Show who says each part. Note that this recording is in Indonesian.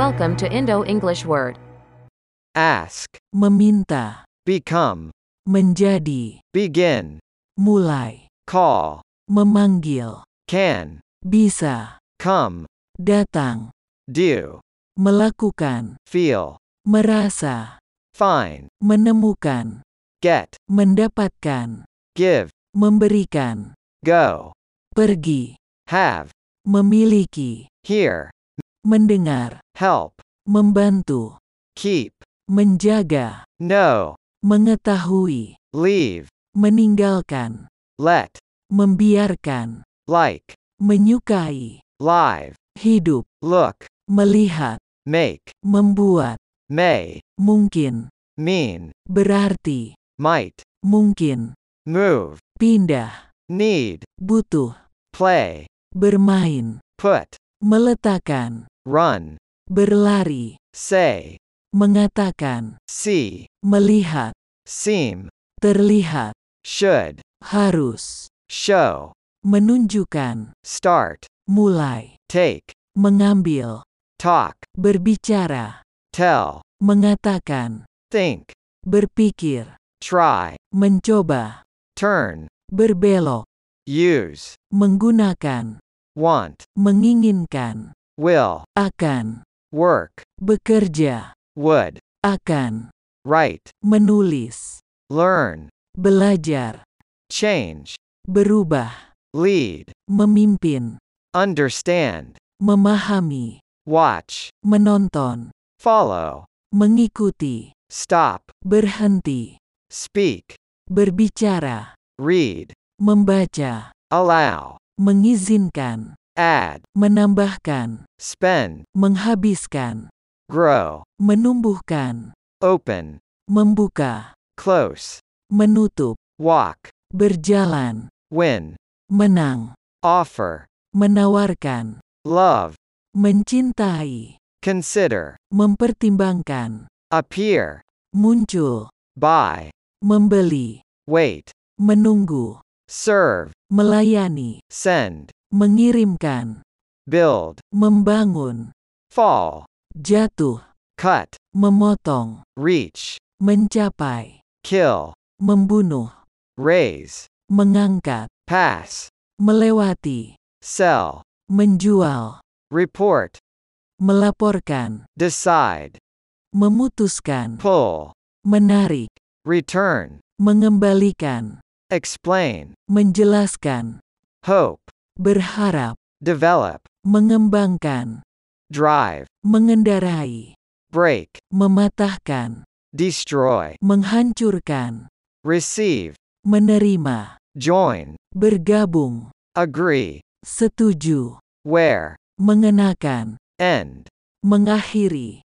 Speaker 1: Welcome to Indo English Word.
Speaker 2: Ask.
Speaker 3: meminta,
Speaker 2: Become.
Speaker 3: menjadi,
Speaker 2: Begin.
Speaker 3: mulai,
Speaker 2: Call.
Speaker 3: memanggil,
Speaker 2: Can.
Speaker 3: bisa,
Speaker 2: Come.
Speaker 3: datang,
Speaker 2: Do.
Speaker 3: melakukan,
Speaker 2: Feel.
Speaker 3: merasa,
Speaker 2: Find.
Speaker 3: menemukan,
Speaker 2: Get.
Speaker 3: mendapatkan,
Speaker 2: Give.
Speaker 3: memberikan,
Speaker 2: Go.
Speaker 3: pergi,
Speaker 2: Have.
Speaker 3: memiliki,
Speaker 2: Hear.
Speaker 3: mendengar,
Speaker 2: Help.
Speaker 3: membantu,
Speaker 2: Keep.
Speaker 3: menjaga,
Speaker 2: Know.
Speaker 3: mengetahui,
Speaker 2: Leave.
Speaker 3: meninggalkan,
Speaker 2: Let.
Speaker 3: membiarkan,
Speaker 2: Like.
Speaker 3: menyukai,
Speaker 2: Live.
Speaker 3: hidup,
Speaker 2: Look.
Speaker 3: melihat,
Speaker 2: Make.
Speaker 3: membuat,
Speaker 2: May.
Speaker 3: mungkin,
Speaker 2: Mean.
Speaker 3: berarti,
Speaker 2: Might.
Speaker 3: mungkin,
Speaker 2: Move.
Speaker 3: pindah,
Speaker 2: Need.
Speaker 3: butuh,
Speaker 2: Play.
Speaker 3: bermain,
Speaker 2: Put.
Speaker 3: meletakkan,
Speaker 2: Run.
Speaker 3: berlari,
Speaker 2: Say.
Speaker 3: mengatakan,
Speaker 2: See.
Speaker 3: melihat,
Speaker 2: Seem.
Speaker 3: terlihat,
Speaker 2: Should.
Speaker 3: harus,
Speaker 2: Show.
Speaker 3: menunjukkan,
Speaker 2: Start.
Speaker 3: mulai,
Speaker 2: Take.
Speaker 3: mengambil,
Speaker 2: Talk.
Speaker 3: berbicara,
Speaker 2: Tell.
Speaker 3: mengatakan,
Speaker 2: Think.
Speaker 3: berpikir,
Speaker 2: Try.
Speaker 3: mencoba,
Speaker 2: Turn.
Speaker 3: berbelok,
Speaker 2: Use.
Speaker 3: menggunakan,
Speaker 2: Want.
Speaker 3: menginginkan,
Speaker 2: Will.
Speaker 3: akan,
Speaker 2: Work.
Speaker 3: bekerja,
Speaker 2: Would.
Speaker 3: akan,
Speaker 2: Write.
Speaker 3: menulis,
Speaker 2: Learn.
Speaker 3: belajar,
Speaker 2: Change.
Speaker 3: berubah,
Speaker 2: Lead.
Speaker 3: memimpin,
Speaker 2: Understand.
Speaker 3: memahami,
Speaker 2: Watch.
Speaker 3: menonton,
Speaker 2: Follow.
Speaker 3: mengikuti,
Speaker 2: Stop.
Speaker 3: berhenti,
Speaker 2: Speak.
Speaker 3: berbicara,
Speaker 2: Read.
Speaker 3: membaca,
Speaker 2: Allow.
Speaker 3: mengizinkan,
Speaker 2: Add.
Speaker 3: menambahkan,
Speaker 2: Spend.
Speaker 3: menghabiskan,
Speaker 2: Grow.
Speaker 3: menumbuhkan,
Speaker 2: Open.
Speaker 3: membuka,
Speaker 2: Close.
Speaker 3: menutup,
Speaker 2: Walk.
Speaker 3: berjalan,
Speaker 2: Win.
Speaker 3: menang,
Speaker 2: Offer.
Speaker 3: menawarkan,
Speaker 2: Love.
Speaker 3: mencintai,
Speaker 2: Consider.
Speaker 3: mempertimbangkan,
Speaker 2: Appear.
Speaker 3: muncul,
Speaker 2: Buy.
Speaker 3: membeli,
Speaker 2: Wait.
Speaker 3: menunggu,
Speaker 2: Serve.
Speaker 3: melayani,
Speaker 2: Send.
Speaker 3: mengirimkan,
Speaker 2: Build.
Speaker 3: membangun,
Speaker 2: Fall.
Speaker 3: jatuh,
Speaker 2: Cut.
Speaker 3: memotong,
Speaker 2: Reach.
Speaker 3: mencapai,
Speaker 2: Kill.
Speaker 3: membunuh,
Speaker 2: Raise.
Speaker 3: mengangkat,
Speaker 2: Pass.
Speaker 3: melewati,
Speaker 2: Sell.
Speaker 3: menjual,
Speaker 2: Report.
Speaker 3: melaporkan,
Speaker 2: Decide.
Speaker 3: memutuskan,
Speaker 2: Pull.
Speaker 3: menarik,
Speaker 2: Return.
Speaker 3: mengembalikan,
Speaker 2: Explain.
Speaker 3: menjelaskan,
Speaker 2: Hope.
Speaker 3: berharap,
Speaker 2: Develop.
Speaker 3: mengembangkan,
Speaker 2: Drive.
Speaker 3: mengendarai,
Speaker 2: Break.
Speaker 3: mematahkan,
Speaker 2: Destroy.
Speaker 3: menghancurkan,
Speaker 2: Receive.
Speaker 3: menerima,
Speaker 2: Join.
Speaker 3: bergabung,
Speaker 2: Agree.
Speaker 3: setuju,
Speaker 2: Where.
Speaker 3: mengenakan,
Speaker 2: End.
Speaker 3: mengakhiri.